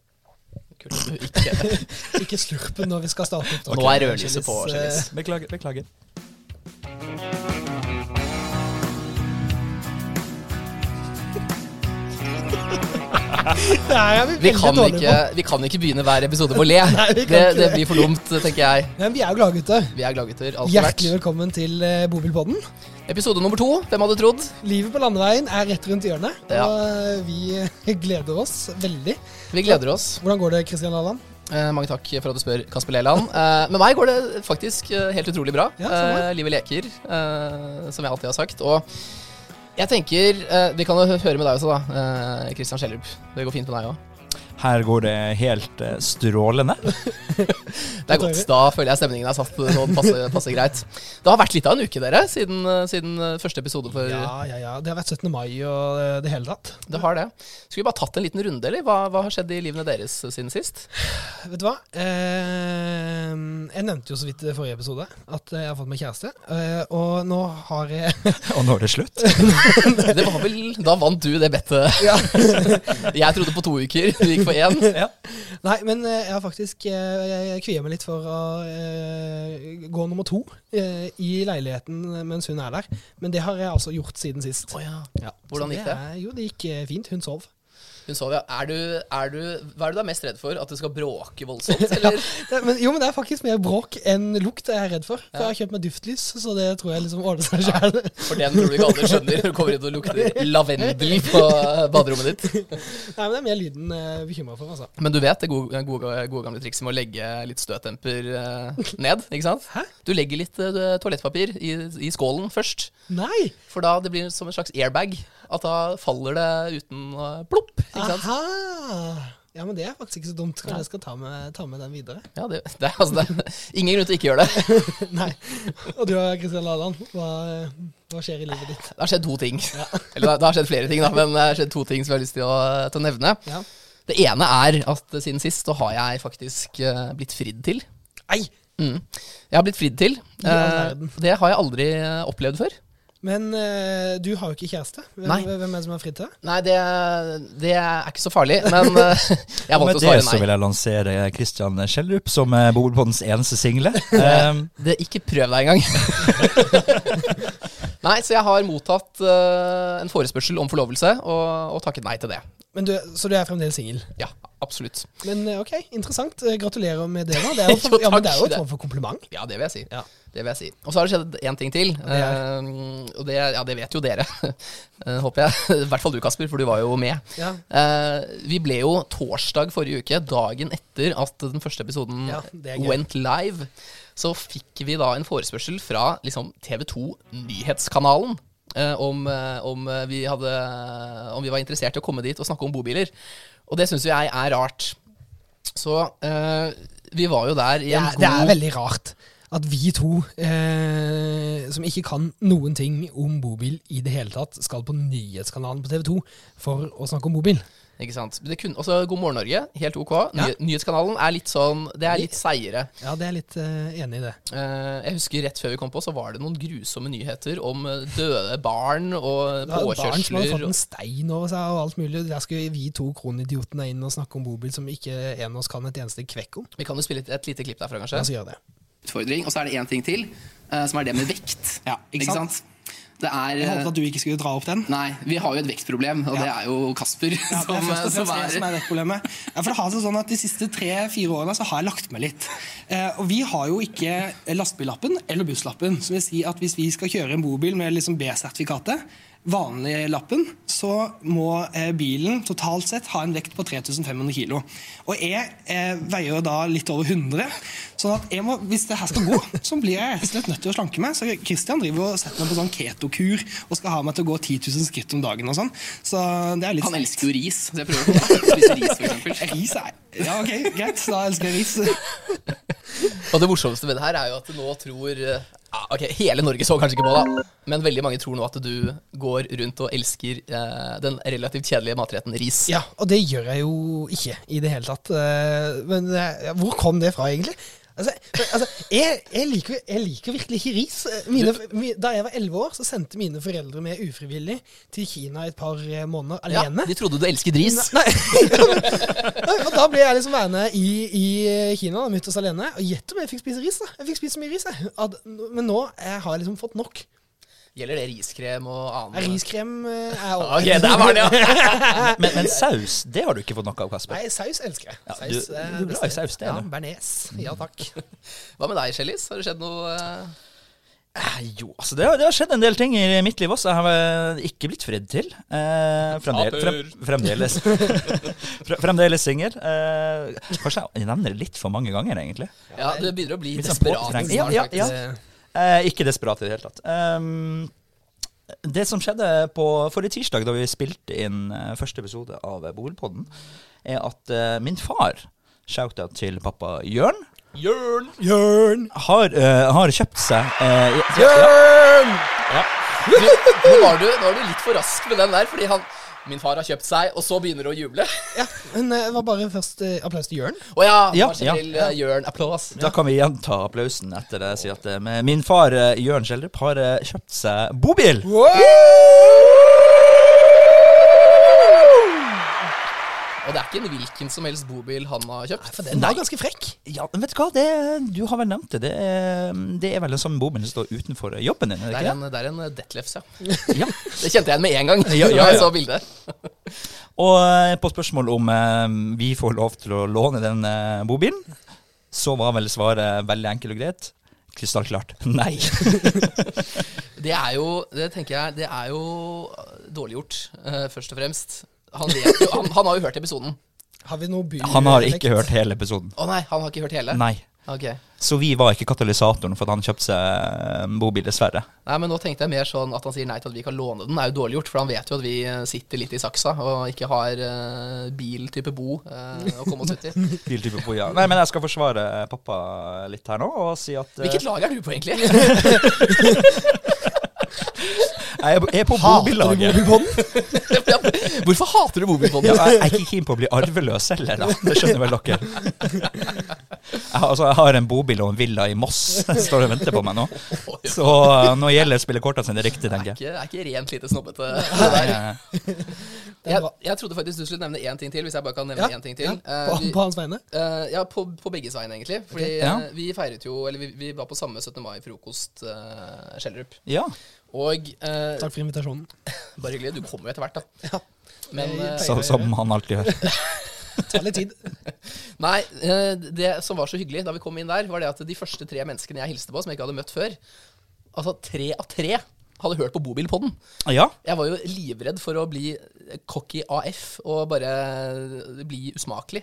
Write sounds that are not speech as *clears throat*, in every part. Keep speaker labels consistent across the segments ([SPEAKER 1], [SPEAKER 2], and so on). [SPEAKER 1] *laughs*
[SPEAKER 2] Kunne du ikke
[SPEAKER 1] Ikke slurpe når vi skal starte opp. eh, da.
[SPEAKER 2] Nå er rødlyset på, Chelis.
[SPEAKER 3] Beklager. beklager.
[SPEAKER 1] Nei, jeg er
[SPEAKER 2] Vi
[SPEAKER 1] veldig
[SPEAKER 2] kan,
[SPEAKER 1] dårlig
[SPEAKER 2] ikke, vi kan ikke begynne hver episode med å le.
[SPEAKER 1] *laughs* Nei, vi kan
[SPEAKER 2] Det,
[SPEAKER 1] ikke
[SPEAKER 2] det
[SPEAKER 1] det.
[SPEAKER 2] blir for dumt, tenker jeg.
[SPEAKER 1] på. Men vi er jo gladgutter.
[SPEAKER 2] Vi er gladgutter. alt for
[SPEAKER 1] Hjertelig
[SPEAKER 2] hvert.
[SPEAKER 1] velkommen til eh, Bobilpodden.
[SPEAKER 2] Episode nummer to. Hvem hadde trodd?
[SPEAKER 1] Livet på landeveien er rett rundt hjørnet,
[SPEAKER 2] Ja.
[SPEAKER 1] og eh, vi *laughs* gleder oss veldig.
[SPEAKER 2] Vi gleder oss.
[SPEAKER 1] Hvordan går det, Kristian Allan?
[SPEAKER 2] Eh, mange takk for at du spør, Kasper Leland. Eh, med meg går det faktisk eh, helt utrolig bra.
[SPEAKER 1] Ja, samme.
[SPEAKER 2] eh, livet leker, eh, som jeg alltid har sagt. Og jeg tenker eh, Vi kan jo hø- høre med deg også, da. Eh, Christian Schjellerup. Det går fint med deg òg.
[SPEAKER 3] Her går det helt eh, strålende. *laughs*
[SPEAKER 2] Det er godt. Da føler jeg stemningen er satt sånn passe, passe greit. Det har vært litt av en uke, dere, siden, eh, siden eh, første episode for
[SPEAKER 1] Ja, ja, ja. Det har vært 17. mai og eh, det hele tatt.
[SPEAKER 2] Det har det. Skulle vi bare tatt en liten runde, eller? Hva, hva har skjedd i livene deres siden
[SPEAKER 1] *laughs*
[SPEAKER 2] sist?
[SPEAKER 1] Vet du hva? Eh, jeg nevnte jo så vidt i forrige episode at jeg har fått meg kjæreste. Eh, og nå har jeg
[SPEAKER 3] Og nå er det slutt.
[SPEAKER 2] Det var vel, Da vant du det bettet.
[SPEAKER 1] ja.
[SPEAKER 2] *laughs* Jeg trodde på to uker, du gikk for én.
[SPEAKER 3] Ja.
[SPEAKER 1] Nei, men eh, jeg har faktisk eh, Jeg jeg kvier meg litt for å eh, gå nummer to eh, i leiligheten mens hun er der. Men det har jeg altså gjort siden sist.
[SPEAKER 2] Å ja.
[SPEAKER 1] Ja.
[SPEAKER 2] Hvordan
[SPEAKER 1] Så
[SPEAKER 2] gikk det?
[SPEAKER 1] Er, jo, det gikk eh, fint. Hun sov.
[SPEAKER 2] Hun sov, ja. Er du, er du, hva er det du er mest redd for? At det skal bråke
[SPEAKER 1] *laughs*
[SPEAKER 2] voldsomt? Eller?
[SPEAKER 1] Det, Eh, men, jo, men det er faktisk mer bråk enn lukt jeg er redd for. For jeg har kjøpt meg duftlys, så det tror jeg liksom ordner seg sjæl.
[SPEAKER 2] For den tror du ikke alle skjønner når du kommer inn og lukter lavendel på baderommet ditt.
[SPEAKER 1] *laughs* Nei, men det er mer lyden jeg er bekymra for, altså.
[SPEAKER 2] Men du vet det gode, gode, gode gamle trikset med å legge litt støtdemper eh, ned, ikke sant?
[SPEAKER 1] Hæ?
[SPEAKER 2] Du legger litt eh, toalettpapir i, i skålen først.
[SPEAKER 1] Nei!
[SPEAKER 2] For da det blir som en slags airbag. At da faller det uten å plopp. Ikke sant?
[SPEAKER 1] Aha! Ja, men det er faktisk ikke så dumt. Kanskje jeg skal ta med, ta med den videre.
[SPEAKER 2] *laughs* Ja, det, det, er- altså, det er ingen grunn til å ikke gjøre det.
[SPEAKER 1] Nei. Og du Kristian Laland, hva, hva skjer i livet ditt?
[SPEAKER 2] Det har skjedd to ting. Eller det har- det har skjedd flere ting, da, men det har skjedd to ting som jeg har lyst til å, til å nevne.
[SPEAKER 1] Ja.
[SPEAKER 2] Det ene er at siden sist så har jeg faktisk eh, blitt fridd til.
[SPEAKER 1] Ei!
[SPEAKER 2] Mm. Jeg har blitt fridd til.
[SPEAKER 1] I all
[SPEAKER 2] Eh,
[SPEAKER 1] verden.
[SPEAKER 2] det har jeg aldri eh, opplevd før.
[SPEAKER 1] Men eh, du har jo ikke kjæreste. Hvem,
[SPEAKER 2] Nei.
[SPEAKER 1] hvem er det som er fridd til deg?
[SPEAKER 2] Nei, det, det er ikke så farlig, *laughs* men eh, jeg valgte
[SPEAKER 3] Og med
[SPEAKER 2] å
[SPEAKER 3] det
[SPEAKER 2] svare
[SPEAKER 3] så
[SPEAKER 2] nei.
[SPEAKER 3] vil jeg lansere Christian Schjelderup som eh, Bobilpoddens eneste single. Um,
[SPEAKER 2] Det, ikke prøv deg engang. nei, så jeg har mottatt eh, en forespørsel om forlovelse, og, og takket nei til det.
[SPEAKER 1] Men du, så du er fremdeles singel.
[SPEAKER 2] Ja, absolutt.
[SPEAKER 1] Men eh, OK, interessant. Eh, Gratulerer med det, da.
[SPEAKER 2] *laughs*
[SPEAKER 1] Det er jo,
[SPEAKER 2] Jo,
[SPEAKER 1] ja, men det
[SPEAKER 2] takk.
[SPEAKER 1] er jo et form for kompliment.
[SPEAKER 2] Ja, det vil jeg si.
[SPEAKER 1] Ja.
[SPEAKER 2] Det vil jeg si. Og så har det skjedd én ting til.
[SPEAKER 1] det er-
[SPEAKER 2] eh, og det, ja, det vet jo dere, *laughs* eh, håper jeg. *laughs* I hvert fall du, Kasper, for du var jo med.
[SPEAKER 1] Ja.
[SPEAKER 2] Eh, vi ble jo torsdag forrige uke, dagen etter at den første episoden
[SPEAKER 1] Ja, det er gøy.
[SPEAKER 2] went live, så fikk vi da en forespørsel fra liksom, TV2 Nyhetskanalen. eh, om, eh, om, eh, vi hadde, eh, om vi var interessert i å komme dit og snakke om bobiler. Og det syns jo jeg er rart. Så eh, vi var jo der i
[SPEAKER 1] Det
[SPEAKER 2] en
[SPEAKER 1] er,
[SPEAKER 2] god
[SPEAKER 1] det er veldig rart at vi to, eh, som ikke kan noen ting om bobil i det hele tatt, skal på nyhetskanalen på TV 2 for å snakke om bobil.
[SPEAKER 2] Ikke sant? Det kunne, også God morgen Norge, helt ok. Ny, Nyhetskanalen er litt sånn Det er litt seigere.
[SPEAKER 1] Ja, det er litt eh, enig i det.
[SPEAKER 2] Eh, jeg husker Rett før vi kom på, så var det noen grusomme nyheter om eh, døde barn og
[SPEAKER 1] Det var jo barn som hadde
[SPEAKER 2] påkjørsler.
[SPEAKER 1] fått en stein over seg og alt mulig. Der skulle vi to kronidiotene inn og snakke om bobil som ikke en av oss kan et eneste kvekk om.
[SPEAKER 2] Vi kan jo spille et, et lite klipp derfra,
[SPEAKER 1] La
[SPEAKER 2] kanskje.
[SPEAKER 1] oss gjøre det.
[SPEAKER 2] Utfordring. Og så er det én ting til, eh, som er det med vekt.
[SPEAKER 1] Ja, ikke sant?
[SPEAKER 2] Det er eh,
[SPEAKER 1] at du ikke skulle dra opp den.
[SPEAKER 2] Nei, vi har jo et vektproblem, og det
[SPEAKER 1] Ja.
[SPEAKER 2] er jo Kasper som, eh, som er
[SPEAKER 1] er det problemet. for det har seg sånn at De siste tre-fire årene så har jeg lagt meg litt.
[SPEAKER 4] Eh, og vi har jo ikke lastebillappen eller busslappen. Som vil si at hvis vi skal kjøre en bobil med liksom B-sertifikatet, vanlig lappen, så må eh, bilen totalt sett ha en vekt på 3500 kilo. Og jeg eh, veier jo da litt over 100, sånn at jeg må, hvis det her skal gå, så blir jeg rett og slett nødt til å slanke meg. Så Christian driver og setter meg på sånn ketokur og skal ha meg til å gå 10 000 skritt om dagen og sånn. Så det er litt
[SPEAKER 2] Han elsker jo ris, så jeg prøver å få deg til å spise ris, for eksempel.
[SPEAKER 1] *laughs*
[SPEAKER 4] Ris er Ja, ok, greit. Da elsker jeg ris.
[SPEAKER 2] Og det morsomste med det her er jo at nå tror eh, ah, Ok, hele Norge så kanskje ikke på da men veldig mange tror nå at du går rundt og elsker eh, den relativt kjedelige matretten ris.
[SPEAKER 1] Ja, og det gjør jeg jo ikke i det hele tatt. Eh, Men eh, hvor kom det fra, egentlig? Altså, altså jeg, jeg, liker, jeg liker virkelig ikke ris. Eh, Mine, mi- da jeg var elleve år, så sendte mine foreldre meg ufrivillig til Kina i et par eh, måneder
[SPEAKER 2] Ja,
[SPEAKER 1] alene.
[SPEAKER 2] de trodde du elsket ris.
[SPEAKER 1] Nei, Nei, og da ble jeg liksom værende i, i Kina, da, mutters alene. Og gjett om jeg fikk spise ris, da. Jeg fikk spise så mye ris, jeg. At, men nå jeg har jeg liksom fått nok.
[SPEAKER 2] Gjelder det riskrem og
[SPEAKER 1] Nei,
[SPEAKER 2] annet?
[SPEAKER 1] Riskrem eh, er over.
[SPEAKER 2] Ok, der var
[SPEAKER 3] *laughs*
[SPEAKER 2] den, ja.
[SPEAKER 3] Men, men saus, det har du ikke fått nok av, Kasper.
[SPEAKER 1] Nei, saus elsker jeg.
[SPEAKER 3] Ja,
[SPEAKER 1] saus, eh,
[SPEAKER 3] du- du er glad i
[SPEAKER 1] beste.
[SPEAKER 3] saus, det er
[SPEAKER 1] Ja,
[SPEAKER 3] du.
[SPEAKER 1] Bernes. Ja takk.
[SPEAKER 2] Hva med deg, Shellis? Har det skjedd noe eh,
[SPEAKER 3] Eh, Jo, altså det har, det har skjedd en del ting i mitt liv også. Jeg har eh, ikke blitt fredd til. Eh, fremdel, frem, fremdeles *laughs* Fre- Fremdeles singel. Eh, kanskje jeg nevner det litt for mange ganger, egentlig.
[SPEAKER 2] Ja, du begynner å bli
[SPEAKER 3] Litt sånn
[SPEAKER 2] desperat.
[SPEAKER 3] påtrengt.
[SPEAKER 2] snart,
[SPEAKER 3] Ja, ja,
[SPEAKER 2] faktisk.
[SPEAKER 3] ja. Eh, ikke desperat i det hele tatt. Ehm, det som skjedde på forrige tirsdag, da vi spilte inn eh, første episode av Bolpodden, er at eh, min far, shout-out til pappa Jørn,
[SPEAKER 2] Jørn!
[SPEAKER 1] *laughs*
[SPEAKER 2] *laughs*
[SPEAKER 1] Jørn!
[SPEAKER 3] har, eh, har kjøpt seg eh, ja,
[SPEAKER 1] Jørn!
[SPEAKER 2] Du, nå, var du, nå var du litt for rask med den der, fordi han Min far har kjøpt seg, og så begynner du å juble. *laughs*
[SPEAKER 1] Ja, men eh, var bare først eh, applaus til Jørn.
[SPEAKER 2] Å ja,
[SPEAKER 3] Ja,
[SPEAKER 2] kanskje
[SPEAKER 3] ja.
[SPEAKER 2] til eh, Jørn Applaus.
[SPEAKER 3] Da kan vi gjenta applausen etter det. Si at eh, men min far eh, Jørn Skjeldrup har eh, kjøpt seg bobil.
[SPEAKER 2] Og det er ikke en hvilken som helst bobil han har kjøpt.
[SPEAKER 1] For den
[SPEAKER 3] Nei.
[SPEAKER 1] var ganske frekk.
[SPEAKER 3] Ja, men vet du hva? Det, du har vel nevnt det. Det er, det er vel en sånn bobil som står utenfor jobben din? er
[SPEAKER 2] Det
[SPEAKER 3] det
[SPEAKER 2] er
[SPEAKER 3] Ikke?
[SPEAKER 2] en, det er en eh, Detlefs, ja.
[SPEAKER 3] det? Ja.
[SPEAKER 2] Det kjente jeg igjen med en gang.
[SPEAKER 3] Ja, ja,
[SPEAKER 2] da jeg
[SPEAKER 3] ja.
[SPEAKER 2] så bildet.
[SPEAKER 3] Og eh, på spørsmål om eh, vi får lov til å låne den eh, bobilen, så var vel svaret veldig enkelt og greit. Krystallklart *laughs* nei.
[SPEAKER 2] Det er jo, det tenker jeg, det er jo dårlig gjort, eh, først og fremst. Han, vet jo, han, han har jo hørt episoden.
[SPEAKER 1] Har vi noe by
[SPEAKER 3] Han har ikke hørt hele episoden.
[SPEAKER 2] Å nei, han har ikke hørt hele?
[SPEAKER 3] Nei.
[SPEAKER 2] Ok.
[SPEAKER 3] Så vi var ikke katalysatoren for at han kjøpte seg eh, bobil, dessverre.
[SPEAKER 2] Nei, men nå tenkte jeg mer sånn at han sier nei til at vi kan låne den, er jo dårlig gjort. For han vet jo at vi eh, sitter litt i saksa og ikke har eh, biltype bo eh, å komme oss ut i.
[SPEAKER 3] Biltype på, ja. Nei, men jeg skal forsvare eh, pappa litt her nå og si at eh,
[SPEAKER 2] Hvilket lag er du på, egentlig?
[SPEAKER 3] jeg er på- jeg er på
[SPEAKER 1] Hater du
[SPEAKER 3] bobillaget.
[SPEAKER 1] mobilbånden?
[SPEAKER 2] Hvorfor hater du bobilpodden?
[SPEAKER 3] Ja, jeg jeg er ikke keen på å bli arveløs heller, da. Det skjønner vel dere. Jeg har, altså, jeg har en bobil og en villa i Moss. *laughs* Den står og venter på meg nå. Så eh, nå gjelder det å spille kortene sine riktig,
[SPEAKER 2] Det er
[SPEAKER 3] tenker jeg.
[SPEAKER 2] ikke, det er ikke rent lite snobbete. det der.
[SPEAKER 3] Eh,
[SPEAKER 1] Det er
[SPEAKER 2] Jeg,
[SPEAKER 1] bra.
[SPEAKER 2] jeg trodde faktisk du skulle nevne én ting til, hvis jeg bare kan nevne
[SPEAKER 1] Ja,
[SPEAKER 2] én ting til.
[SPEAKER 1] ja,
[SPEAKER 2] Eh,
[SPEAKER 1] på,
[SPEAKER 2] vi-
[SPEAKER 1] på hans vegne.
[SPEAKER 2] Eh, ja, på, på begges vegne, egentlig. Fordi
[SPEAKER 3] Ok, ja.
[SPEAKER 2] eh, vi feiret jo Eller vi, vi var på samme 17. mai-frokost, uh, Skjellerup.
[SPEAKER 3] Ja.
[SPEAKER 2] Og eh,
[SPEAKER 1] Takk for invitasjonen.
[SPEAKER 2] Bare hyggelig. Du kommer jo etter hvert,
[SPEAKER 1] *laughs*
[SPEAKER 2] da. Men
[SPEAKER 1] Jeg
[SPEAKER 2] eh,
[SPEAKER 1] pleier-
[SPEAKER 3] Så, som han alltid gjør.
[SPEAKER 1] Ta litt tid.
[SPEAKER 2] Nei, eh, det som var så hyggelig da vi kom inn der, var det at de første tre menneskene jeg hilste på, som jeg ikke hadde møtt før Altså tre av tre hadde hørt på Bobilpodden.
[SPEAKER 3] Ja.
[SPEAKER 2] Jeg var jo livredd for å bli cocky AF og bare bli usmakelig.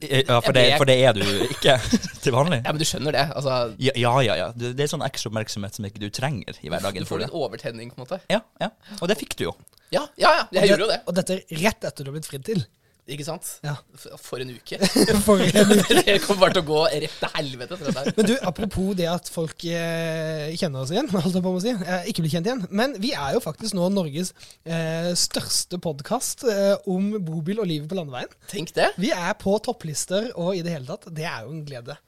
[SPEAKER 3] eh, ja for, det, for det er du ikke *laughs* til vanlig.
[SPEAKER 2] Ja, men du skjønner det. Altså,
[SPEAKER 3] Ja, ja, ja. ja. Det det er sånn ekstra oppmerksomhet som ikke du trenger i
[SPEAKER 2] du
[SPEAKER 3] hverdagen.
[SPEAKER 2] får
[SPEAKER 3] tror
[SPEAKER 2] litt
[SPEAKER 3] jeg.
[SPEAKER 2] overtenning, på en måte.
[SPEAKER 3] Ja, ja. Og det fikk du jo.
[SPEAKER 2] Ja, ja, ja *laughs* jeg gjorde jo det.
[SPEAKER 1] Og dette er rett etter du har blitt fridd til.
[SPEAKER 2] Ikke sant?
[SPEAKER 1] Ja. *laughs*
[SPEAKER 2] F- For en uke. *laughs*
[SPEAKER 1] For en
[SPEAKER 2] det kommer bare til å gå rett til helvete. tror jeg det er.
[SPEAKER 1] Men du, apropos det at folk eh, kjenner oss igjen, *laughs* holdt jeg på med å si. Eh, ikke blir kjent igjen. Men vi er jo faktisk nå Norges eh, største podkast eh, om bobil og livet på landeveien.
[SPEAKER 2] Tenk det.
[SPEAKER 1] Vi er på topplister og i det hele tatt. Det er jo en glede.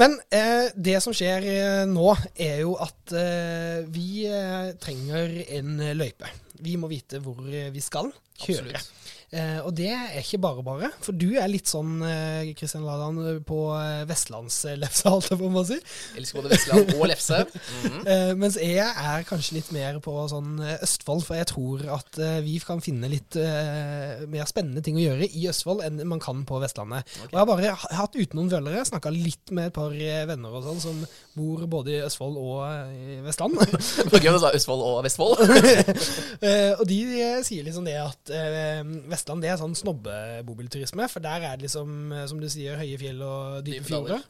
[SPEAKER 1] Men eh, det som skjer eh, nå, er jo at eh, vi eh, trenger en løype. Vi må vite hvor eh, vi skal kjøre.
[SPEAKER 2] Absolutt.
[SPEAKER 1] Eh, og det er ikke bare bare, for du er litt sånn eh, Kristian Ladan på eh, vestlandslefsa, *laughs* holdt jeg på med å si.
[SPEAKER 2] Elsker både Vestland og Lefse. Mhm. *laughs*
[SPEAKER 1] Eh, mens jeg er kanskje litt mer på sånn eh, Østfold, for jeg tror at eh, vi kan finne litt eh, mer spennende ting å gjøre i Østfold enn man kan på Vestlandet. Og jeg har bare ha- hatt ute noen vølere, snakka litt med et par eh, venner og sånn som bor både i Østfold og eh, i Vestland. *laughs*
[SPEAKER 2] Det var gøy å sa Østfold og Vestfold.
[SPEAKER 1] Eh, og de eh, sier liksom det at eh, Vestland det er sånn snobbebobilturisme, for der er det liksom, eh, som du sier, høye fjell og dype
[SPEAKER 2] Dype
[SPEAKER 1] fjorder.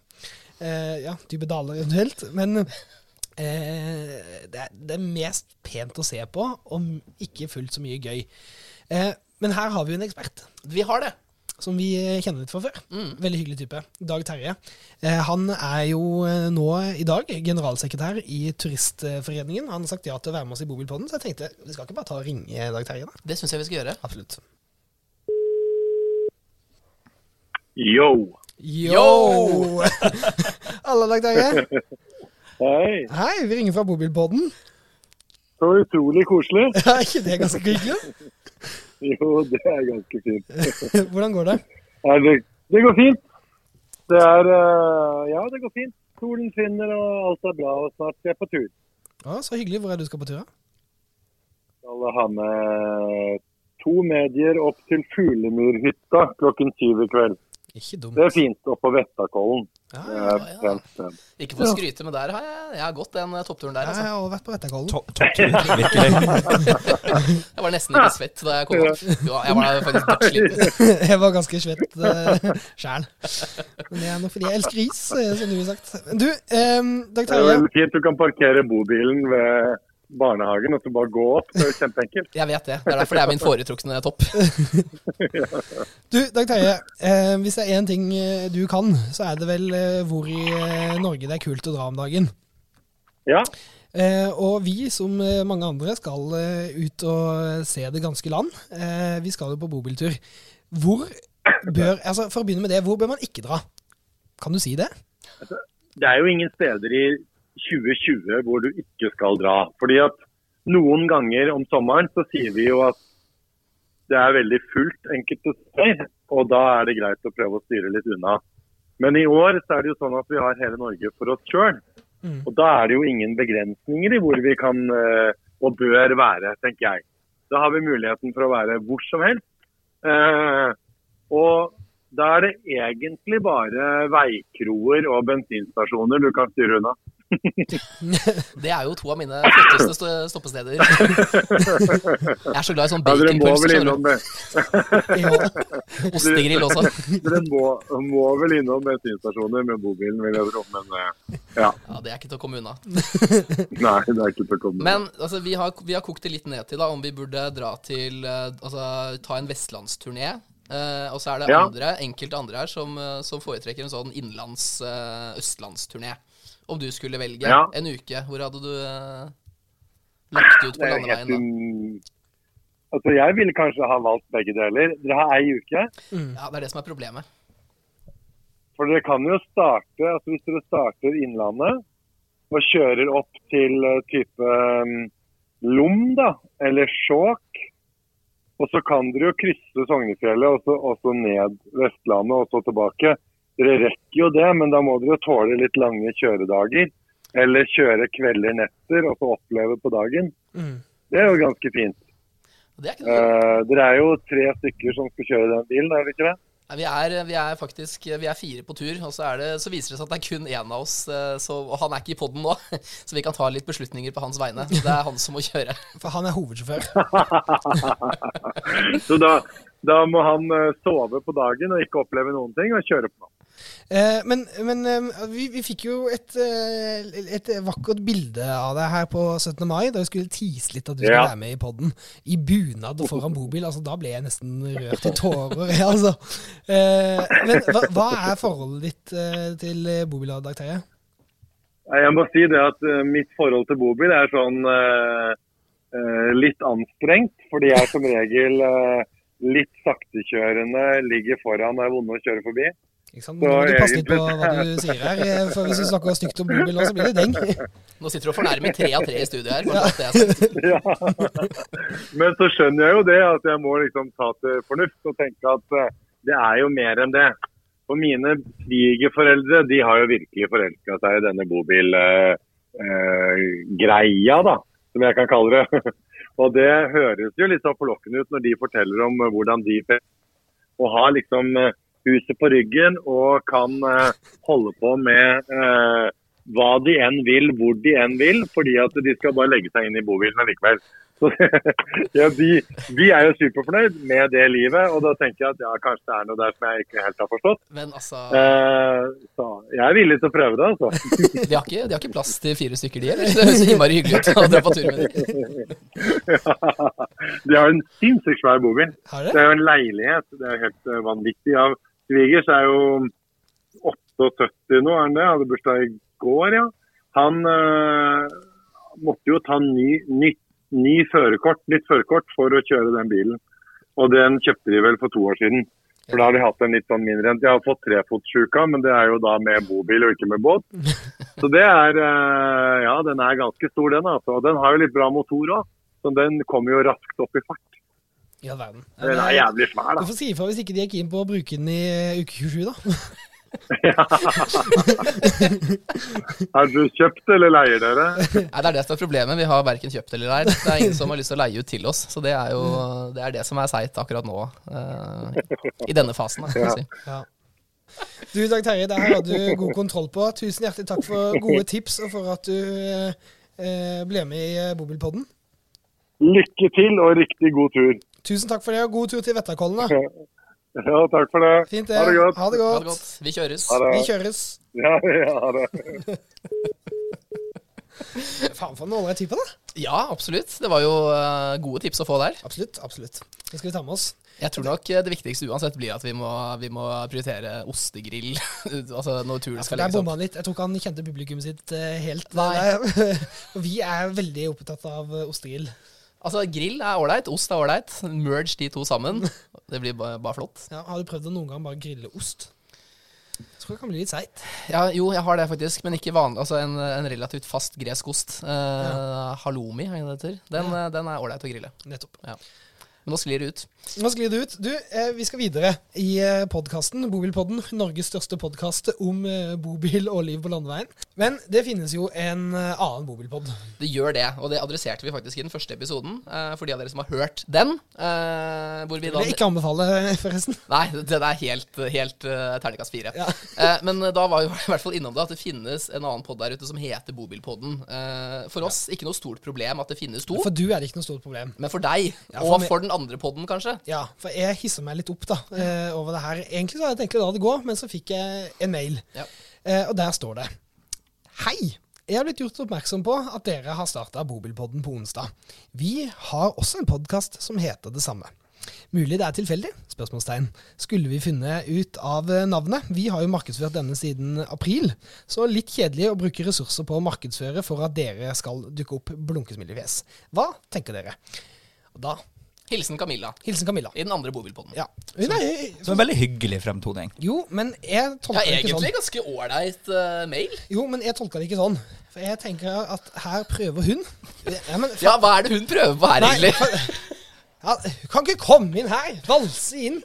[SPEAKER 1] Eh, ja, dype daler eventuelt. Men eh, det, er, det er mest pent å se på, om ikke fullt så mye gøy. Eh, men her har vi jo en ekspert
[SPEAKER 2] Vi har det.
[SPEAKER 1] som vi eh, kjenner litt fra før. Veldig hyggelig type. Dag Terje. Eh, han er jo eh, nå i dag generalsekretær i Turistforeningen. Han har sagt ja til å være med oss i Bobilpodden, så jeg tenkte vi skal ikke bare ta og ringe Dag Terje, da?
[SPEAKER 2] Det syns jeg vi skal gjøre.
[SPEAKER 1] Absolutt.
[SPEAKER 5] Yo.
[SPEAKER 1] Yo! *laughs* Alle dag, Terje.
[SPEAKER 5] Hei.
[SPEAKER 1] Hei, vi ringer fra bobilpodden. *laughs*
[SPEAKER 5] Så utrolig koselig.
[SPEAKER 1] Er ikke det ganske hyggelig?
[SPEAKER 5] Jo, det er ganske fint.
[SPEAKER 1] Hvordan går det?
[SPEAKER 5] Nei, det, det går fint. Det er eh, Ja, det går fint. Solen skinner og alt er bra, og snart skal jeg på tur.
[SPEAKER 1] Ja, Så hyggelig. Hvor er det du skal på tur? da?
[SPEAKER 5] Skal ha med to medier opp til Fuglemyrhytta klokken syv i kveld.
[SPEAKER 1] Ikke dumt.
[SPEAKER 5] Det er fint. Oppå Vettakollen.
[SPEAKER 1] Ja,
[SPEAKER 5] Det
[SPEAKER 1] ja,
[SPEAKER 5] er et pent sted.
[SPEAKER 2] Ikke for å skryte, men der har jeg, jeg har gått den eh, toppturen der.
[SPEAKER 1] jeg
[SPEAKER 2] Altså.
[SPEAKER 1] har også vært på Vettakollen.
[SPEAKER 3] To- Topptur, virkelig.
[SPEAKER 2] Jeg var nesten ikke svett da jeg kom opp. Jo, jeg var faktisk dødssliten.
[SPEAKER 1] *laughs* Jeg var ganske svett uh, sjæl. Men det er nok fordi jeg elsker is, eh, som du ville sagt. Du, ehm, Dag
[SPEAKER 5] Det er
[SPEAKER 1] Terje.
[SPEAKER 5] veldig fint. Du kan parkere bobilen ved barnehagen og så bare gå opp. Det er jo kjempeenkelt.
[SPEAKER 2] Jeg vet det. Det er derfor det er min foretrukne topp.
[SPEAKER 1] Du, Dag Terje. eh, hvis det er én ting eh, du kan, så er det vel eh, hvor i eh, Norge det er kult å dra om dagen.
[SPEAKER 5] Ja,
[SPEAKER 1] Eh, og vi, som eh, mange andre, skal eh, ut og se det ganske land. Eh, vi skal jo på bobiltur. Hvor bør altså For å begynne med det, hvor bør man ikke dra? Kan du si det?
[SPEAKER 5] det er jo ingen steder i 2020 hvor du ikke skal dra. Fordi at noen ganger om sommeren så sier vi jo at det er veldig fullt enkelte steder, og da er det greit å prøve å styre litt unna. Men i år så er det jo sånn at vi har hele Norge for oss sjøl.
[SPEAKER 1] Mm.
[SPEAKER 5] Og da er det jo ingen begrensninger i hvor vi kan eh, og bør være, tenker jeg. Da har vi muligheten for å være hvor som helst. Eh, og da er det egentlig bare veikroer og bensinstasjoner du kan styre unna.
[SPEAKER 2] Det er jo to av mine flotteste sto-
[SPEAKER 5] *laughs*
[SPEAKER 2] stoppesteder. Jeg er så glad i sånn
[SPEAKER 5] Ja, dere må vel
[SPEAKER 2] baconpølse. skjønner
[SPEAKER 5] innom, det.
[SPEAKER 1] Jo.
[SPEAKER 2] du. Ostegrill også.
[SPEAKER 5] dere må, må vel innom bensinstasjoner med bobilen, vil jeg tro. Men eh, ja,
[SPEAKER 2] Ja, Det er ikke til å komme unna.
[SPEAKER 5] nei, det er ikke til å komme
[SPEAKER 2] Men altså, vi, har, vi har kokt det litt ned til da, om vi burde dra til eh, Altså ta en vestlandsturné. eh, og så er det
[SPEAKER 5] Ja.
[SPEAKER 2] andre, enkelte andre her som, eh, som foretrekker en sånn innenlands eh, østlandsturné. Om du skulle velge
[SPEAKER 5] Ja.
[SPEAKER 2] en uke, hvor hadde du eh, lagt ut på
[SPEAKER 5] Det er helt
[SPEAKER 2] landeveien da?
[SPEAKER 5] um- Altså, jeg ville kanskje ha valgt begge deler. Dere har ei uke,
[SPEAKER 2] Ja, Det er det som er problemet.
[SPEAKER 5] for dere kan jo starte altså Hvis dere starter Innlandet og kjører opp til eh, type um, Lom, da, eller Skjåk, og så kan dere jo krysse Sognefjellet og så, og så ned Vestlandet og så tilbake. Dere rekker jo det, men da må dere tåle litt lange kjøredager. Eller kjøre kvelder, netter, og så oppleve på dagen.
[SPEAKER 1] Mm.
[SPEAKER 5] Det er jo ganske fint.
[SPEAKER 2] Og Det er ikke noe
[SPEAKER 5] Eh, dere er jo tre stykker som skal kjøre den bilen, er det ikke det?
[SPEAKER 2] Nei, vi, er, vi er faktisk vi er fire på tur, og så, er det, så viser det seg at det er kun én av oss. eh, Så, og han er ikke i poden nå, *laughs* så vi kan ta litt beslutninger på hans vegne. Det er han som må kjøre.
[SPEAKER 1] For han er hovedsjåfør.
[SPEAKER 5] Så da, da må han eh, sove på dagen og ikke oppleve noen ting, og kjøre på natten.
[SPEAKER 1] Eh, men men eh, vi, vi fikk jo et, eh, et vakkert bilde av deg her på 17. mai, da vi skulle tease litt at du skulle
[SPEAKER 5] Ja.
[SPEAKER 1] være med i podden. I bunad foran bobil. altså Da ble jeg nesten rørt i tårer. jeg, altså. Eh, men hva, hva er forholdet ditt eh, til eh, bobil, Dag Terje?
[SPEAKER 5] Nei, Jeg må si det at eh, mitt forhold til bobil er sånn eh, eh, litt anstrengt, fordi jeg er som regel eh, litt saktekjørende, ligger foran og er vonde å kjøre forbi.
[SPEAKER 1] Ikke sant?
[SPEAKER 5] Så
[SPEAKER 1] Nå må du passe litt på
[SPEAKER 5] egentlig-
[SPEAKER 1] hva du sier her. eh, For hvis du snakker stygt om bobil nå, så blir det deng.
[SPEAKER 2] Nå sitter du og fornærmer tre av tre i studio her. bare så at det er sagt.
[SPEAKER 5] *laughs* Ja. Men så skjønner jeg jo det, at jeg må liksom ta til fornuft og tenke at eh, det er jo mer enn det. For mine svigerforeldre de har jo virkelig forelska seg i denne bobilgreia, da, som jeg kan kalle det. *laughs* Og det høres jo litt sånn forlokkende ut når de forteller om eh, hvordan de fe- og har liksom eh, huset på ryggen og kan eh, holde på med eh, hva de enn vil, hvor de enn vil, fordi at de skal bare legge seg inn i bobilen likevel. *laughs* Så ja, de, de er jo superfornøyd med det livet, og da tenker jeg at ja, kanskje det er noe der som jeg ikke helt har forstått.
[SPEAKER 2] Men altså,
[SPEAKER 5] Eh, så jeg er villig til å prøve det, altså.
[SPEAKER 2] de har, ikke, de har ikke plass til fire stykker, de heller. Det høres innmari hyggelig ut å dra på tur med dem.
[SPEAKER 5] De har en sinnssykt svær bobil.
[SPEAKER 1] Har
[SPEAKER 5] Det
[SPEAKER 1] dere?
[SPEAKER 5] er jo en leilighet. Det er jo helt eh, vanvittig. Av svigers er jo 78 nå, er han det? Hadde bursdag i går, ja. Han eh, måtte jo ta ny, ny, ny førerkort, nytt førerkort for å kjøre den bilen. Og den kjøpte de vel for to år siden. For da har de hatt en litt sånn mindre en. De har fått trefotssjuka, men det er jo da med bobil og ikke med *laughs* båt. Så det er eh, Ja, den er ganske stor, den. altså. Og den har jo litt bra motor òg, så den kommer jo raskt opp i fart.
[SPEAKER 1] I all verden. Ja,
[SPEAKER 5] Den er
[SPEAKER 1] det er-
[SPEAKER 5] jævlig svær,
[SPEAKER 1] Du
[SPEAKER 5] da.
[SPEAKER 1] får si ifra hvis ikke de er keen på å bruke den i eh, uke 27, da.
[SPEAKER 5] Har du kjøpt eller leier dere?
[SPEAKER 2] Nei, det er det som er problemet. Vi har verken kjøpt eller leid. Det er ingen som har lyst til å leie ut til oss. Så det er jo det, er det som er seigt akkurat nå. eh, I denne fasen, da, kan jeg si.
[SPEAKER 1] Ja. Du, Dag Terje, det her hadde du god kontroll på. Tusen hjertelig takk for gode tips, og for at du eh, eh, ble med i eh, Bobilpodden.
[SPEAKER 5] Lykke til og riktig god tur.
[SPEAKER 1] Tusen takk for det, og god tur til Vettakollen. da.
[SPEAKER 5] Ja, takk for det.
[SPEAKER 1] Fint det.
[SPEAKER 5] Ha det godt.
[SPEAKER 1] Ha det
[SPEAKER 2] Ha det
[SPEAKER 1] godt.
[SPEAKER 2] godt. Vi kjøres.
[SPEAKER 5] Ha det.
[SPEAKER 1] Vi kjøres.
[SPEAKER 5] Ja, ja, ha det.
[SPEAKER 1] Faen for en ålreit type, da.
[SPEAKER 2] Ja, absolutt. Det var jo eh, gode tips å få der.
[SPEAKER 1] Absolutt. absolutt. Det skal vi ta med oss.
[SPEAKER 2] Jeg tror nok eh, det viktigste uansett blir at vi må, vi må prioritere ostegrill. *laughs* altså når turen
[SPEAKER 1] For
[SPEAKER 2] skal legges
[SPEAKER 1] der
[SPEAKER 2] opp.
[SPEAKER 1] bomma han litt. Jeg tror ikke han kjente publikummet sitt eh, helt.
[SPEAKER 2] Nei.
[SPEAKER 1] *laughs* Og vi er veldig opptatt av eh, ostegrill.
[SPEAKER 2] Altså, grill er ålreit, ost er ålreit. Merge de to
[SPEAKER 1] *laughs*
[SPEAKER 2] sammen. Det blir ba- bare flott.
[SPEAKER 1] Ja, har du prøvd å noen gang bare grille ost? Jeg tror det kan bli litt seigt.
[SPEAKER 2] Ja, jo, jeg har det faktisk, men ikke vanlig. Altså en, en relativt fast gresk ost. Eh, Halloumi, er det det heter. Den, eh, den er ålreit å grille.
[SPEAKER 1] Nettopp.
[SPEAKER 2] Men nå sklir det ut.
[SPEAKER 1] Nå sklir det ut. Du, eh, vi skal videre i eh, podkasten Bobilpodden. Norges største podkast om eh, bobil og liv på landeveien. Men det finnes jo en eh, annen bobilpod.
[SPEAKER 2] Det gjør det, og det adresserte vi faktisk i den første episoden. eh, for de av dere som har hørt den. eh, hvor vi
[SPEAKER 1] Det
[SPEAKER 2] da...
[SPEAKER 1] vil jeg ikke anbefale, eh, forresten.
[SPEAKER 2] Nei, den er helt, helt eh, terningkast fire.
[SPEAKER 1] Ja.
[SPEAKER 2] *laughs* Eh, men da var vi i hvert fall innom det at det finnes en annen pod der ute som heter Bobilpodden. Eh, for oss ikke noe stort problem at det finnes to.
[SPEAKER 1] For du er det ikke noe stort problem.
[SPEAKER 2] Men for deg,
[SPEAKER 1] Ja, for
[SPEAKER 2] og
[SPEAKER 1] meg-
[SPEAKER 2] for den andre podden, kanskje.
[SPEAKER 1] Ja, for jeg hisser meg litt opp da, eh, over det her. Egentlig så hadde jeg tenkt å la det gå, men så fikk jeg en mail.
[SPEAKER 2] Ja.
[SPEAKER 1] Eh, og der står det. Hei! Jeg har blitt gjort oppmerksom på at dere har starta Bobilpodden på onsdag. Vi har også en podkast som heter det samme. Mulig det er tilfeldig? Spørsmålstegn. Skulle vi funnet ut av eh, navnet? Vi har jo markedsført denne siden april, så litt kjedelig å bruke ressurser på å markedsføre for at dere skal dukke opp blunkesmilefjes. Hva tenker dere? Og da
[SPEAKER 2] Hilsen Camilla
[SPEAKER 1] Hilsen Camilla.
[SPEAKER 2] i den andre Bobilpodden.
[SPEAKER 1] Ja. Hun er,
[SPEAKER 3] Så en veldig hyggelig fremtoning.
[SPEAKER 1] jo, men jeg
[SPEAKER 2] Ja,
[SPEAKER 1] tolker det ikke
[SPEAKER 2] egentlig
[SPEAKER 1] sånn.
[SPEAKER 2] ganske ålreit eh, mail.
[SPEAKER 1] Jo, men jeg tolker det ikke sånn. For jeg tenker at her prøver hun. Ja, men
[SPEAKER 2] Ja, hva er det hun prøver på her,
[SPEAKER 1] Nei,
[SPEAKER 2] egentlig?
[SPEAKER 1] for- ja, hun kan ikke komme inn her, valse inn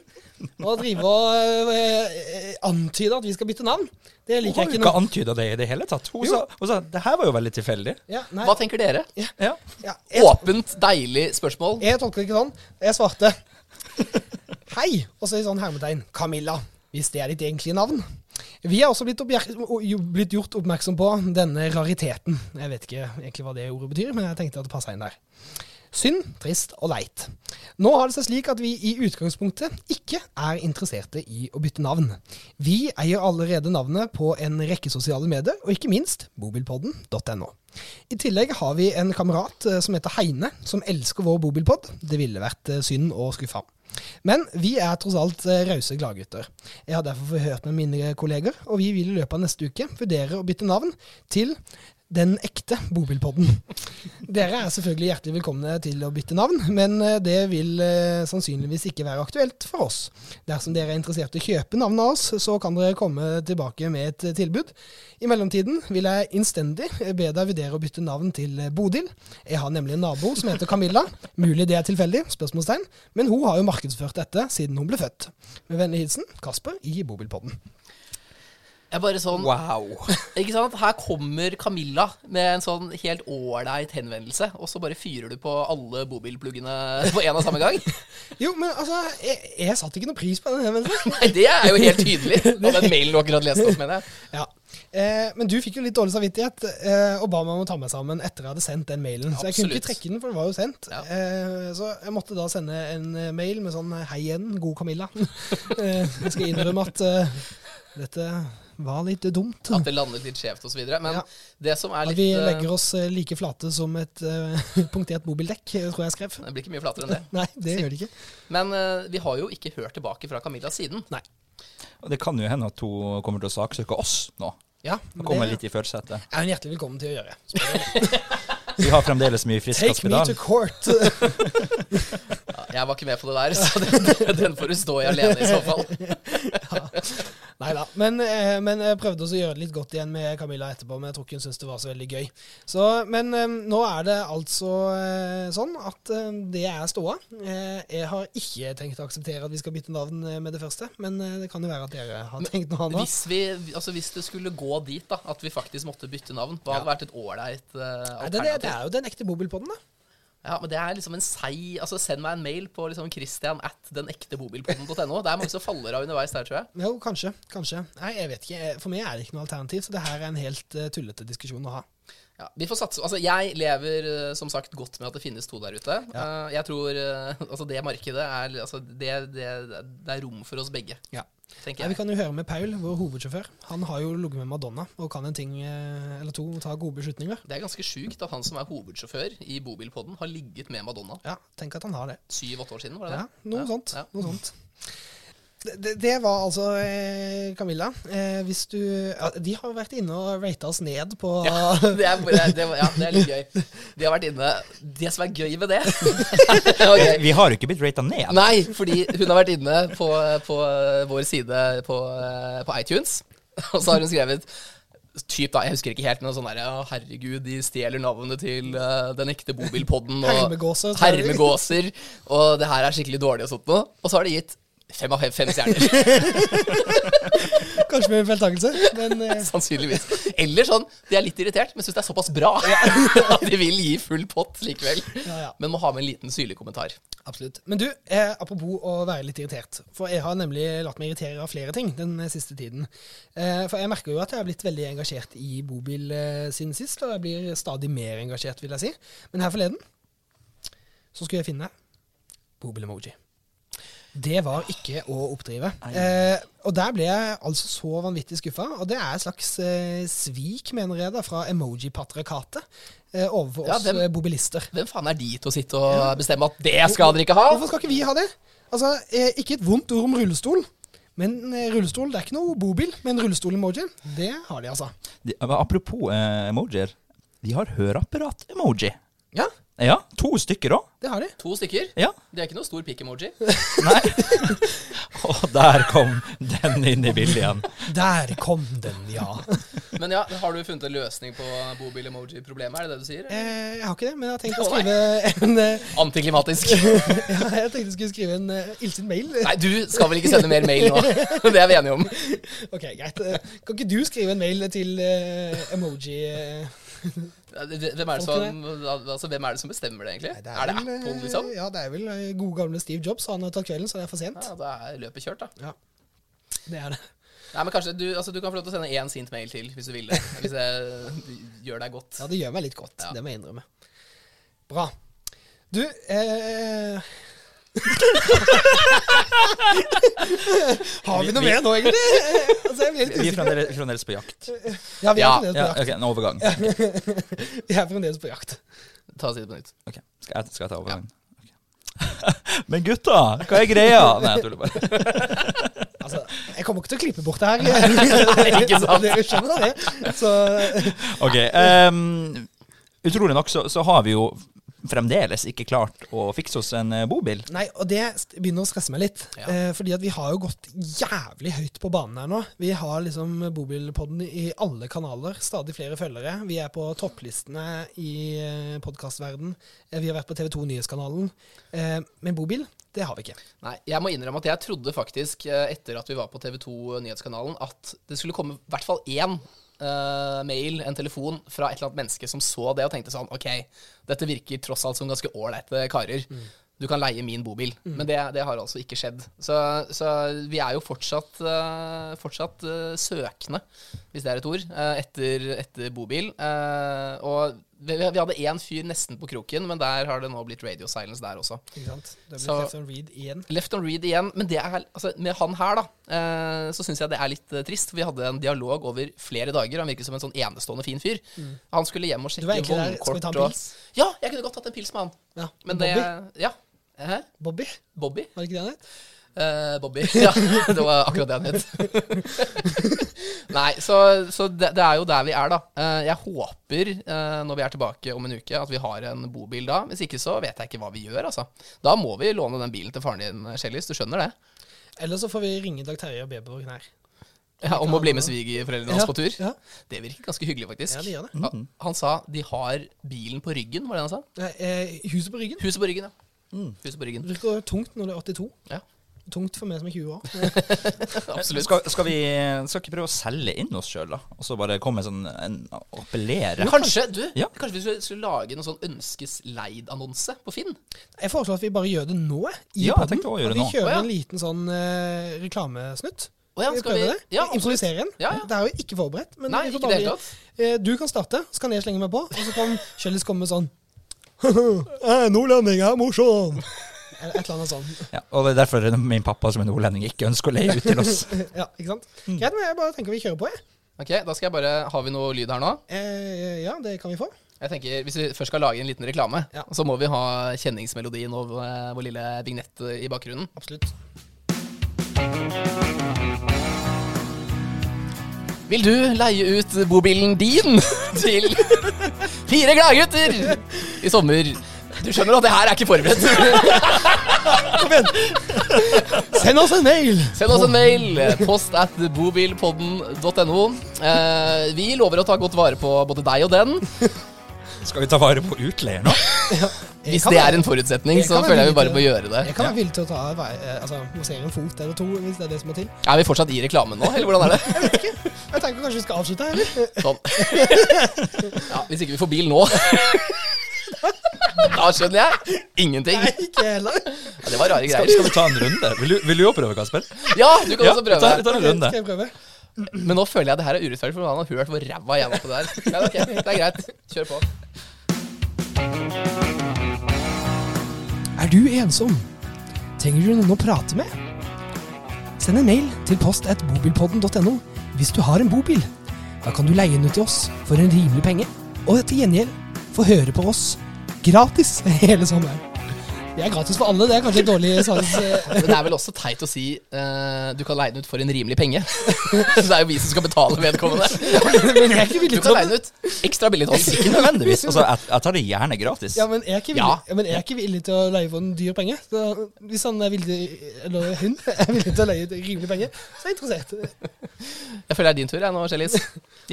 [SPEAKER 1] og drive og eh, antyde at vi skal bytte navn. Det
[SPEAKER 3] Hun
[SPEAKER 1] liker
[SPEAKER 3] har
[SPEAKER 1] jeg
[SPEAKER 3] jo
[SPEAKER 1] ikke
[SPEAKER 3] ikke
[SPEAKER 1] noe.
[SPEAKER 3] antyda det i det hele tatt. Hun
[SPEAKER 1] Jo.
[SPEAKER 3] sa, hun sa det her var jo veldig tilfeldig.
[SPEAKER 1] Ja, nei,
[SPEAKER 2] Hva tenker dere?
[SPEAKER 3] Ja.
[SPEAKER 1] ja, jeg,
[SPEAKER 2] Åpent, deilig spørsmål.
[SPEAKER 1] jeg tolker det ikke sånn. Jeg svarte hei, og så i sånn hermetegn Camilla, hvis det er ditt egentlige navn. Vi er også blitt, oppmerk- o- jo- blitt gjort oppmerksom på denne rariteten. Jeg vet ikke egentlig hva det ordet betyr, men jeg tenkte at det passa inn der. Synd, trist og leit. Nå har det seg slik at vi i utgangspunktet ikke er interesserte i å bytte navn. Vi eier allerede navnet på en rekke sosiale medier, og ikke minst bobilpodden.no. I tillegg har vi en kamerat eh, som heter Heine, som elsker vår bobilpod. Det ville vært eh, synd å skuffe ham. Men vi er tross alt eh, rause gladgutter. Jeg har derfor forhørt med mine kolleger, og vi vil i løpet av neste uke vurdere å bytte navn til Den ekte bobilpodden. Dere er selvfølgelig hjertelig velkomne til å bytte navn, men eh, det vil eh, sannsynligvis ikke være aktuelt for oss. Dersom dere er interessert i å kjøpe navnet av oss, så kan dere komme tilbake med et eh, tilbud. I mellomtiden vil jeg innstendig eh, be deg vurdere å bytte navn til eh, Bodil. Jeg har nemlig en nabo som heter Camilla. Mulig det er tilfeldig? Spørsmålstegn. Men hun har jo markedsført dette siden hun ble født. Med vennlig hilsen Kasper i Bobilpodden.
[SPEAKER 2] Jeg bare sånn,
[SPEAKER 3] Wow.
[SPEAKER 2] *laughs* ikke sant? Her kommer Camilla med en sånn helt ålreit henvendelse, og så bare fyrer du på alle bobilpluggene på en og samme
[SPEAKER 1] *laughs*
[SPEAKER 2] gang.
[SPEAKER 1] Jo, men altså, jeg, jeg satte ikke noe pris på den henvendelsen.
[SPEAKER 2] Nei, det er jo helt
[SPEAKER 1] *laughs*
[SPEAKER 2] tydelig av den mailen du akkurat leste opp, mener jeg.
[SPEAKER 1] Ja. Eh, men du fikk jo litt dårlig samvittighet eh, og ba meg om å ta meg sammen etter jeg hadde sendt den mailen. Så jeg kunne
[SPEAKER 2] Absolutt.
[SPEAKER 1] ikke trekke den, for den var jo sendt.
[SPEAKER 2] Ja.
[SPEAKER 1] Eh, så jeg måtte da sende en eh, mail med sånn Hei igjen, god Camilla. *laughs* eh, jeg skal innrømme at eh, dette var litt dumt.
[SPEAKER 2] At det landet litt skjevt og så videre. Men
[SPEAKER 1] Ja.
[SPEAKER 2] det som er
[SPEAKER 1] At
[SPEAKER 2] litt
[SPEAKER 1] vi
[SPEAKER 2] eh,
[SPEAKER 1] legger oss eh, like flate som et eh, *laughs* punktert bobildekk, eh, tror jeg jeg skrev.
[SPEAKER 2] Det blir ikke mye flatere enn det.
[SPEAKER 1] Nei, det gjør det ikke.
[SPEAKER 2] Men eh, vi har jo ikke hørt tilbake fra Camilla siden.
[SPEAKER 1] Nei.
[SPEAKER 3] Og det kan jo hende at hun kommer til å saksøke oss nå.
[SPEAKER 1] Ja,
[SPEAKER 3] Hun kommer
[SPEAKER 1] det
[SPEAKER 3] litt i førersetet.
[SPEAKER 1] er hun hjertelig velkommen til å gjøre.
[SPEAKER 3] Vi har fremdeles mye frisk
[SPEAKER 1] Take me
[SPEAKER 3] aspedal.
[SPEAKER 1] to court!
[SPEAKER 2] Jeg var ikke med på det der, *laughs* så den, den får du stå i alene i så fall.
[SPEAKER 1] Nei da. Men, eh, men jeg prøvde også å gjøre det litt godt igjen med Camilla etterpå, men jeg tror ikke hun syntes det var så veldig gøy. Så, men eh, nå er det altså eh, sånn at eh, det er ståa. Eh, Jeg har ikke tenkt å akseptere at vi skal bytte navn eh, med det første, men eh, det kan jo være at dere har tenkt noe annet.
[SPEAKER 2] Hvis, vi, altså hvis det skulle gå dit, da, at vi faktisk måtte bytte navn, hva hadde vært et ålreit uh,
[SPEAKER 1] Nei, det, det, det
[SPEAKER 2] alternativ?
[SPEAKER 1] er jo den ekte bobilpodden, da.
[SPEAKER 2] Ja, men det er liksom en seig altså Send meg en mail på liksom christian at denektemobilpodden.no. Det er mange som faller av underveis der, tror jeg.
[SPEAKER 1] Jo, kanskje. Kanskje. Nei, jeg vet ikke. Eh, For meg er det ikke noe alternativ, så det her er en helt eh, tullete diskusjon å ha.
[SPEAKER 2] Ja, vi får satse. Altså, jeg lever eh, som sagt godt med at det finnes to der ute. Eh, jeg tror eh, altså, det markedet er altså, det, det, det er rom for oss begge,
[SPEAKER 1] Ja. Nei,
[SPEAKER 2] tenker
[SPEAKER 1] vi
[SPEAKER 2] jeg.
[SPEAKER 1] kan jo høre med Paul, vår hovedsjåfør. Han har jo ligget med Madonna og kan en ting eh, eller to og ta gode beslutninger.
[SPEAKER 2] Det er ganske sjukt at han som er hovedsjåfør i bobilpodden, har ligget med Madonna.
[SPEAKER 1] Ja, tenk at han har det.
[SPEAKER 2] Syv-åtte år siden, var det
[SPEAKER 1] Ja,
[SPEAKER 2] det?
[SPEAKER 1] noe
[SPEAKER 2] Ja,
[SPEAKER 1] sånt.
[SPEAKER 2] ja.
[SPEAKER 1] Noe sånt. Det- Det, det var altså eh, Camilla. Eh, hvis du ja, De har vært inne og rata oss ned på *laughs*
[SPEAKER 2] Det er, bare, det, ja, det er litt gøy. De har vært inne Det som er gøy med det *laughs* Ok.
[SPEAKER 3] Vi har jo ikke blitt rata ned.
[SPEAKER 2] Nei, fordi hun har vært inne på, på eh, vår side på, eh, på iTunes, og så har hun skrevet Typ da, Jeg husker ikke helt, men noe sånn derre «Å, Herregud, de stjeler navnet til eh, den ekte bobilpodden. og-
[SPEAKER 1] Hermegåser, tror jeg.
[SPEAKER 2] Hermegåser. Og det her er skikkelig dårlig og sånt noe. Og så har de gitt fem av fem, fem stjerner.
[SPEAKER 1] Kanskje med en feiltakelse, men eh,
[SPEAKER 2] *laughs* Sannsynligvis. Eller sånn, de er litt irritert, men syns det er såpass bra *laughs* at de vil gi full pott likevel.
[SPEAKER 1] ja, ja.
[SPEAKER 2] Men må ha med en liten syrlig kommentar.
[SPEAKER 1] Absolutt. Men du, eh, apropos å være litt irritert. For jeg har nemlig latt meg irritere av flere ting den eh, siste tiden. Eh, for jeg merker jo at jeg har blitt veldig engasjert i bobil eh, siden sist, og jeg blir stadig mer engasjert, vil jeg si. Men her forleden så skulle jeg finne bobil-emoji. Det var ikke å oppdrive. Eh, og der ble jeg altså så vanvittig skuffa. Og det er et slags eh, svik, mener jeg, da, fra emoji-patriarkatet eh, overfor
[SPEAKER 2] Ja,
[SPEAKER 1] oss
[SPEAKER 2] hvem-
[SPEAKER 1] eh, bobilister.
[SPEAKER 2] Hvem faen er de til å sitte og bestemme at det skal dere ikke ha?
[SPEAKER 1] Hvorfor skal ikke vi ha det? Altså, eh, Ikke et vondt ord om rullestol. Men eh, rullestol, det er ikke noe bobil, men rullestol-emoji, det har de, altså.
[SPEAKER 3] De, men apropos eh, emojier. De har høreapparat-emoji.
[SPEAKER 1] Ja,
[SPEAKER 3] Ja, to stykker òg.
[SPEAKER 1] det har de.
[SPEAKER 2] To stykker?
[SPEAKER 3] Ja.
[SPEAKER 2] Det er ikke noe stor pikk-emoji.
[SPEAKER 3] Nei. Og der kom den inn i bildet igjen.
[SPEAKER 1] Der kom den, ja.
[SPEAKER 2] Men ja, har du funnet en løsning på bobil-emoji-problemet? Er det det du sier?
[SPEAKER 1] Eh, jeg har ikke det, men jeg har tenkt å skrive en eh, *laughs*
[SPEAKER 2] Antiklimatisk.
[SPEAKER 1] ja, Jeg tenkte jeg skulle skrive en eh, illsint mail.
[SPEAKER 2] Nei, du skal vel ikke sende mer mail nå? *laughs* Det er vi enige om.
[SPEAKER 1] *laughs* Ok, greit. Eh, Kan ikke du skrive en mail til eh, emoji eh,
[SPEAKER 2] Hvem er det som, altså, hvem er det som bestemmer det, egentlig?
[SPEAKER 1] nei,
[SPEAKER 2] er, det
[SPEAKER 1] vel, eh,
[SPEAKER 2] Apple, liksom?
[SPEAKER 1] Ja, det er vel eh, gode gamle Steve Jobs. Han har tatt kvelden, så det er for sent.
[SPEAKER 2] Ja, da er løpet kjørt, da.
[SPEAKER 1] Ja, det er det.
[SPEAKER 2] Nei, men kanskje Du, altså, du kan få lov til å sende én sint mail til, hvis du vil det. Hvis det gjør deg godt.
[SPEAKER 1] Ja, det gjør meg litt godt.
[SPEAKER 2] Ja.
[SPEAKER 1] Det må jeg innrømme. Bra. Du eh... *laughs* Har vi noe
[SPEAKER 3] Vi-
[SPEAKER 1] mer nå, egentlig? Altså, jeg blir litt *laughs*
[SPEAKER 3] Vi er
[SPEAKER 1] usikker.
[SPEAKER 3] fremdeles, fremdeles på jakt.
[SPEAKER 1] Ja, vi er
[SPEAKER 2] Ja,
[SPEAKER 1] fremdeles på
[SPEAKER 3] Ja,
[SPEAKER 1] jakt.
[SPEAKER 3] ok, En overgang.
[SPEAKER 1] Vi er fremdeles på jakt.
[SPEAKER 2] Ta side på nytt.
[SPEAKER 3] Ok, Skal jeg, skal jeg ta overgangen? Ok. *laughs* Men gutta, hva er greia? Nei, jeg tuller bare.
[SPEAKER 1] Altså, jeg kommer ikke til å klippe bort
[SPEAKER 2] *laughs*
[SPEAKER 1] det her. Nei,
[SPEAKER 2] ikke
[SPEAKER 1] *laughs*
[SPEAKER 2] sant.
[SPEAKER 1] Dere skjønner det. Så
[SPEAKER 3] Ok, ehm, Utrolig nok så, så har vi jo fremdeles ikke klart å fikse oss en eh, bobil.
[SPEAKER 1] Nei, og det st- begynner å stresse meg litt.
[SPEAKER 2] Ja.
[SPEAKER 1] Eh, fordi at vi har jo gått jævlig høyt på banen her nå. Vi har liksom Bobilpodden i alle kanaler. Stadig flere følgere. Vi er på topplistene i podkastverden. Vi har vært på TV 2 Nyhetskanalen. Eh, men bobil, det har vi ikke.
[SPEAKER 2] Nei, jeg må innrømme at jeg trodde faktisk, eh, etter at vi var på TV 2 Nyhetskanalen, at det skulle komme i hvert fall én eh, mail, en telefon, fra et eller annet menneske som så det og tenkte sånn Ok, dette virker tross alt som ganske ålreite karer. Du kan leie min bobil. Men det, det har altså ikke skjedd. Så, så vi er jo fortsatt, eh, fortsatt eh, søkende, hvis det er et ord, eh, etter, etter bobil. Eh, og vi, vi hadde én fyr nesten på kroken, men der har det nå blitt radio silence der også.
[SPEAKER 1] Ikke sant? Det blir
[SPEAKER 2] Så-
[SPEAKER 1] Clifton Reed igjen.
[SPEAKER 2] Left on read igjen, men det er, altså, med han her da, eh, så syns jeg det er litt eh, trist. for Vi hadde en dialog over flere dager. Han virket som en sånn enestående fin fyr. Han skulle hjem og
[SPEAKER 1] Mm. Du
[SPEAKER 2] sjekke
[SPEAKER 1] var egentlig der.
[SPEAKER 2] vognkort.
[SPEAKER 1] Skal vi ta en
[SPEAKER 2] og-
[SPEAKER 1] pils?
[SPEAKER 2] Ja, jeg kunne godt tatt en pils med han.
[SPEAKER 1] Ja.
[SPEAKER 2] Men
[SPEAKER 1] Bobby?
[SPEAKER 2] det Ja. Hæ?
[SPEAKER 1] Bobby?
[SPEAKER 2] Bobby?
[SPEAKER 1] Var det ikke det han het?
[SPEAKER 2] Eh, Bobby. *laughs* Ja, det var akkurat det han het. *laughs* Nei, så, så det, det er jo der vi er, da. Eh, Jeg håper, eh, når vi er tilbake om en uke, at vi har en bobil da. Hvis ikke så vet jeg ikke hva vi gjør, altså. Da må vi låne den bilen til faren din, Shellis. Du skjønner det?
[SPEAKER 1] Eller så får vi ringe Dag Terje og Beberg her.
[SPEAKER 2] Ja, om å bli med svigerforeldrene hans
[SPEAKER 1] Ja,
[SPEAKER 2] på tur.
[SPEAKER 1] ja.
[SPEAKER 2] Det virker ganske hyggelig, faktisk.
[SPEAKER 1] Ja, det gjør det.
[SPEAKER 2] Han, han sa de har bilen på ryggen, var det han sa?
[SPEAKER 1] Nei, eh, huset på ryggen.
[SPEAKER 2] Huset på ryggen, ja.
[SPEAKER 1] Mm.
[SPEAKER 2] Huset på ryggen.
[SPEAKER 1] Det virker tungt når du er 82. *laughs*
[SPEAKER 2] Ja,
[SPEAKER 1] Tungt for meg som er 20 år.
[SPEAKER 2] absolutt.
[SPEAKER 3] Skal, skal vi skal ikke prøve å selge inn oss sjøl, da? Og så bare komme sånn en, appellere?
[SPEAKER 2] Kanskje du,
[SPEAKER 3] Ja.
[SPEAKER 2] kanskje vi skulle, skulle lage noen sånn ønskesleid-annonse på Finn?
[SPEAKER 1] Jeg foreslår at vi bare gjør det nå. jeg, I
[SPEAKER 3] Ja, jeg
[SPEAKER 1] podden.
[SPEAKER 3] tenkte også å gjøre
[SPEAKER 1] At
[SPEAKER 3] det
[SPEAKER 1] vi
[SPEAKER 3] nå.
[SPEAKER 1] kjører
[SPEAKER 2] Å, ja.
[SPEAKER 1] en liten sånn eh, reklamesnutt.
[SPEAKER 2] Å ja,
[SPEAKER 1] Skal vi
[SPEAKER 2] skal
[SPEAKER 1] prøve
[SPEAKER 2] vi-
[SPEAKER 1] det?
[SPEAKER 2] ja, absolutt.
[SPEAKER 1] Improvisere en?
[SPEAKER 2] Ja, ja.
[SPEAKER 1] Det er jo ikke forberedt. Men
[SPEAKER 2] Nei,
[SPEAKER 1] vi får
[SPEAKER 2] ikke i det
[SPEAKER 1] bare-
[SPEAKER 2] hele tatt.
[SPEAKER 1] Eh, Du kan starte, så kan jeg slenge meg på. Og så
[SPEAKER 2] *laughs*
[SPEAKER 1] kan Kjellis komme med sånn «Eh, Nordlending er morsom! Eller et eller annet sånn. *laughs*
[SPEAKER 3] Ja, og det er derfor min pappa som er nordlending ikke ønsker å leie ut til oss.
[SPEAKER 1] Ja, ikke sant?
[SPEAKER 2] Mm.
[SPEAKER 1] Greit, men jeg bare tenker vi kjører på, jeg.
[SPEAKER 2] Ok, da skal jeg bare Har vi noe lyd her nå?
[SPEAKER 1] Eh, ja, det kan vi få.
[SPEAKER 2] Jeg tenker, Hvis vi først skal lage en liten reklame,
[SPEAKER 1] Ja.
[SPEAKER 2] så må vi ha kjenningsmelodien og eh, vår lille vignett eh, i bakgrunnen.
[SPEAKER 1] Absolutt.
[SPEAKER 2] Vil du leie ut bobilen din *laughs* til fire gladgutter i sommer? Du skjønner at det her er ikke forberedt. *laughs*
[SPEAKER 1] Send oss en mail!
[SPEAKER 2] Send oss en mail. Post at bobilpodden.no. Eh, vi lover å ta godt vare på både deg og den.
[SPEAKER 3] Skal vi ta vare på utleier nå?
[SPEAKER 1] Jeg
[SPEAKER 2] Hvis
[SPEAKER 1] kan
[SPEAKER 2] det
[SPEAKER 1] være-
[SPEAKER 2] er en forutsetning,
[SPEAKER 1] jeg
[SPEAKER 2] så
[SPEAKER 1] kan
[SPEAKER 2] føler jeg
[SPEAKER 1] være
[SPEAKER 2] vi
[SPEAKER 1] villig
[SPEAKER 2] bare
[SPEAKER 1] til-
[SPEAKER 2] må gjøre det.
[SPEAKER 1] Jeg kan være villig til å ta vei- eh, Altså, massere en fot eller to, hvis det er det som må til.
[SPEAKER 2] Er vi fortsatt i reklamen nå, eller hvordan er det? *laughs*
[SPEAKER 1] Jeg tenker kanskje vi skal avslutte, her, eller? *laughs*
[SPEAKER 2] Sånn. Ja, hvis ikke vi får bil nå *laughs* Da skjønner jeg ingenting.
[SPEAKER 1] Nei, ikke heller.
[SPEAKER 2] Ja, det var rare
[SPEAKER 3] Skal,
[SPEAKER 2] greier.
[SPEAKER 3] vi ta en runde? Vil du, vil du også prøve, Kasper?
[SPEAKER 2] Ja, du kan også
[SPEAKER 3] vi tar, vi
[SPEAKER 2] prøve.
[SPEAKER 3] tar en runde.
[SPEAKER 1] Skal jeg prøve?
[SPEAKER 2] Men nå føler jeg det her er urettferdig, for han har hørt hvor ræva jeg var på det her. Ja, ok, det er greit. Kjør på.
[SPEAKER 1] Er du ensom? Trenger du noen å prate med? Send en mail til post at bobilpodden.no hvis du har en bobil. Da kan du leie den ut til oss for en rimelig penge, og til gjengjeld få høre på oss gratis *laughs* hele sommeren. Det er gratis for alle, det er kanskje et dårlig *laughs* salgs... eh,
[SPEAKER 2] Men det er vel også teit å si eh, du kan leie den ut for en rimelig penge. *laughs* Det er jo vi som skal betale vedkommende.
[SPEAKER 1] Men jeg er ikke
[SPEAKER 2] Du
[SPEAKER 1] villig til
[SPEAKER 2] kan
[SPEAKER 1] å
[SPEAKER 2] leie den ut ekstra billig til oss.
[SPEAKER 3] Ikke nødvendigvis. Altså, jeg, jeg tar det gjerne gratis.
[SPEAKER 1] ja, men jeg er ikke villig,
[SPEAKER 2] Ja.
[SPEAKER 1] ja, men jeg er ikke villig til å leie for en dyr penge. Så hvis han er villig eller hun er villig til å leie ut rimelig penge, så er jeg interessert.
[SPEAKER 2] Jeg føler det er din tur jeg nå, Kjellis.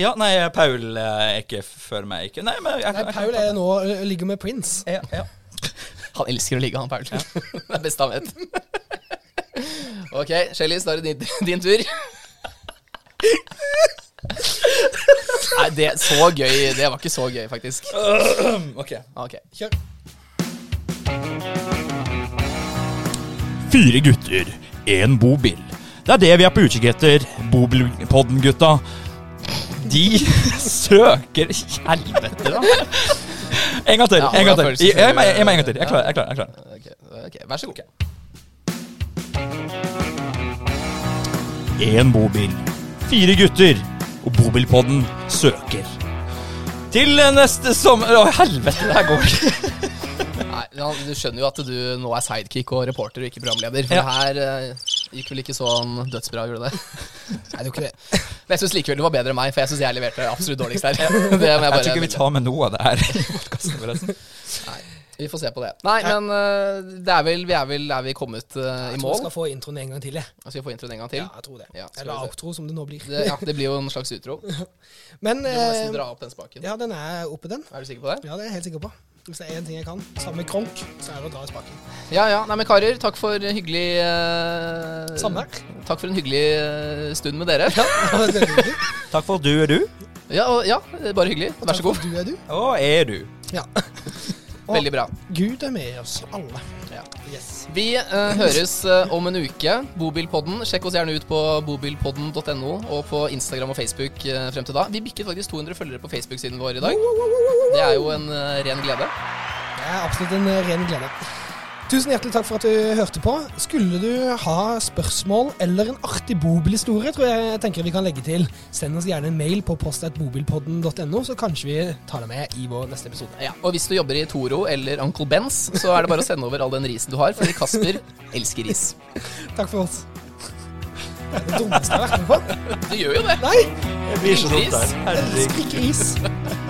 [SPEAKER 3] Ja, nei, Paul eh, er ikke før meg. Ikke. Nei, men jeg,
[SPEAKER 1] Nei, Paul er nå ligger med Prince.
[SPEAKER 3] Ja, ja. *clears throat*
[SPEAKER 2] Han elsker å ligge, han Paul. Det er best han vet. Ok, Shellis, da er det din, din tur. Nei, det så gøy. Det var ikke så gøy, faktisk.
[SPEAKER 3] Ok.
[SPEAKER 2] Ok.
[SPEAKER 1] Kjør.
[SPEAKER 3] Fire gutter, én bobil. Det er det vi er på utkikk etter, Bobilpodden-gutta. De *laughs* søker Helvete, da. En gang til.
[SPEAKER 2] Ja,
[SPEAKER 3] en gang til.
[SPEAKER 2] hvordan føles det
[SPEAKER 3] Jeg, jeg, jeg, jeg,
[SPEAKER 2] før-
[SPEAKER 3] en gang til. Jeg klarer. jeg klarer, jeg klarer.
[SPEAKER 2] Ok, ok, Vær så god.
[SPEAKER 3] Én bobil, fire gutter, og bobilpodden søker. Til neste sommer Å, helvete, det her går ikke.
[SPEAKER 2] Nei, men han- Du skjønner jo at du nå er sidekick og reporter og ikke programleder. For
[SPEAKER 3] Ja.
[SPEAKER 2] det her eh, gikk vel ikke sånn dødsbra, gjorde det?
[SPEAKER 1] Nei, det er jo ikke det.
[SPEAKER 2] Men jeg syns likevel du var bedre enn meg, for jeg syns jeg leverte absolutt dårligst her. *laughs* Det må jeg bare
[SPEAKER 3] Jeg tror ikke vi tar med noe av det her i podkasten, forresten.
[SPEAKER 2] Vi får se på det. Nei, men eh, det er vel, vi er vel er vi kommet eh, i
[SPEAKER 1] Jeg tror jeg
[SPEAKER 2] mål.
[SPEAKER 1] skal få introen en gang til, jeg.
[SPEAKER 2] Skal vi få introen en gang til?
[SPEAKER 1] Ja, jeg tror det.
[SPEAKER 2] Ja, skal
[SPEAKER 1] Eller
[SPEAKER 2] vi se.
[SPEAKER 1] outro, som det nå blir.
[SPEAKER 2] Det, ja, det blir jo en slags *laughs* utro. Du
[SPEAKER 1] *laughs* Men
[SPEAKER 2] må nesten dra
[SPEAKER 1] eh,
[SPEAKER 2] opp den spaken.
[SPEAKER 1] ja, den er oppe, den.
[SPEAKER 2] Er du sikker på det?
[SPEAKER 1] Ja, det er jeg helt sikker på. Hvis det er én ting jeg kan, sammen med kronk, så er det å dra i spaken.
[SPEAKER 2] Ja ja. Nei, men karer, takk for hyggelig eh,
[SPEAKER 1] Samvær.
[SPEAKER 2] Takk for en hyggelig eh, stund med dere. *laughs* Ja,
[SPEAKER 1] Ja, *laughs* det er hyggelig.
[SPEAKER 3] Takk for at du er du.
[SPEAKER 2] og, ja bare hyggelig. Vær så god.
[SPEAKER 1] Du er du.
[SPEAKER 3] Og er du.
[SPEAKER 1] Ja. Og
[SPEAKER 2] Veldig bra.
[SPEAKER 1] Gud er med oss alle.
[SPEAKER 2] Ja.
[SPEAKER 1] Yes.
[SPEAKER 2] Vi eh, høres eh, om en uke. Bobilpodden. Sjekk oss gjerne ut på bobilpodden.no og på Instagram og Facebook eh, frem til da. Vi bikket faktisk 200 følgere på Facebook-siden vår i dag. Det er jo en eh, ren glede.
[SPEAKER 1] Det er absolutt en eh, ren glede. Tusen hjertelig takk for at du hørte på. Skulle du ha spørsmål eller en artig bobilhistorie, tror jeg jeg tenker vi kan legge til, send oss gjerne en mail på postatmobilpodden.no, så kanskje vi tar deg med i vår neste episode.
[SPEAKER 2] Ja, og hvis du jobber i Toro eller Uncle Bens, så er det bare å sende over all den risen du har, fordi Kasper elsker ris.
[SPEAKER 1] Takk for oss. *laughs* Det er det dummeste jeg har vært med på.
[SPEAKER 2] Du gjør jo det.
[SPEAKER 1] Nei!
[SPEAKER 3] Det blir så dumt
[SPEAKER 2] Gris.
[SPEAKER 3] der. Herregud.
[SPEAKER 1] Sprikk ris.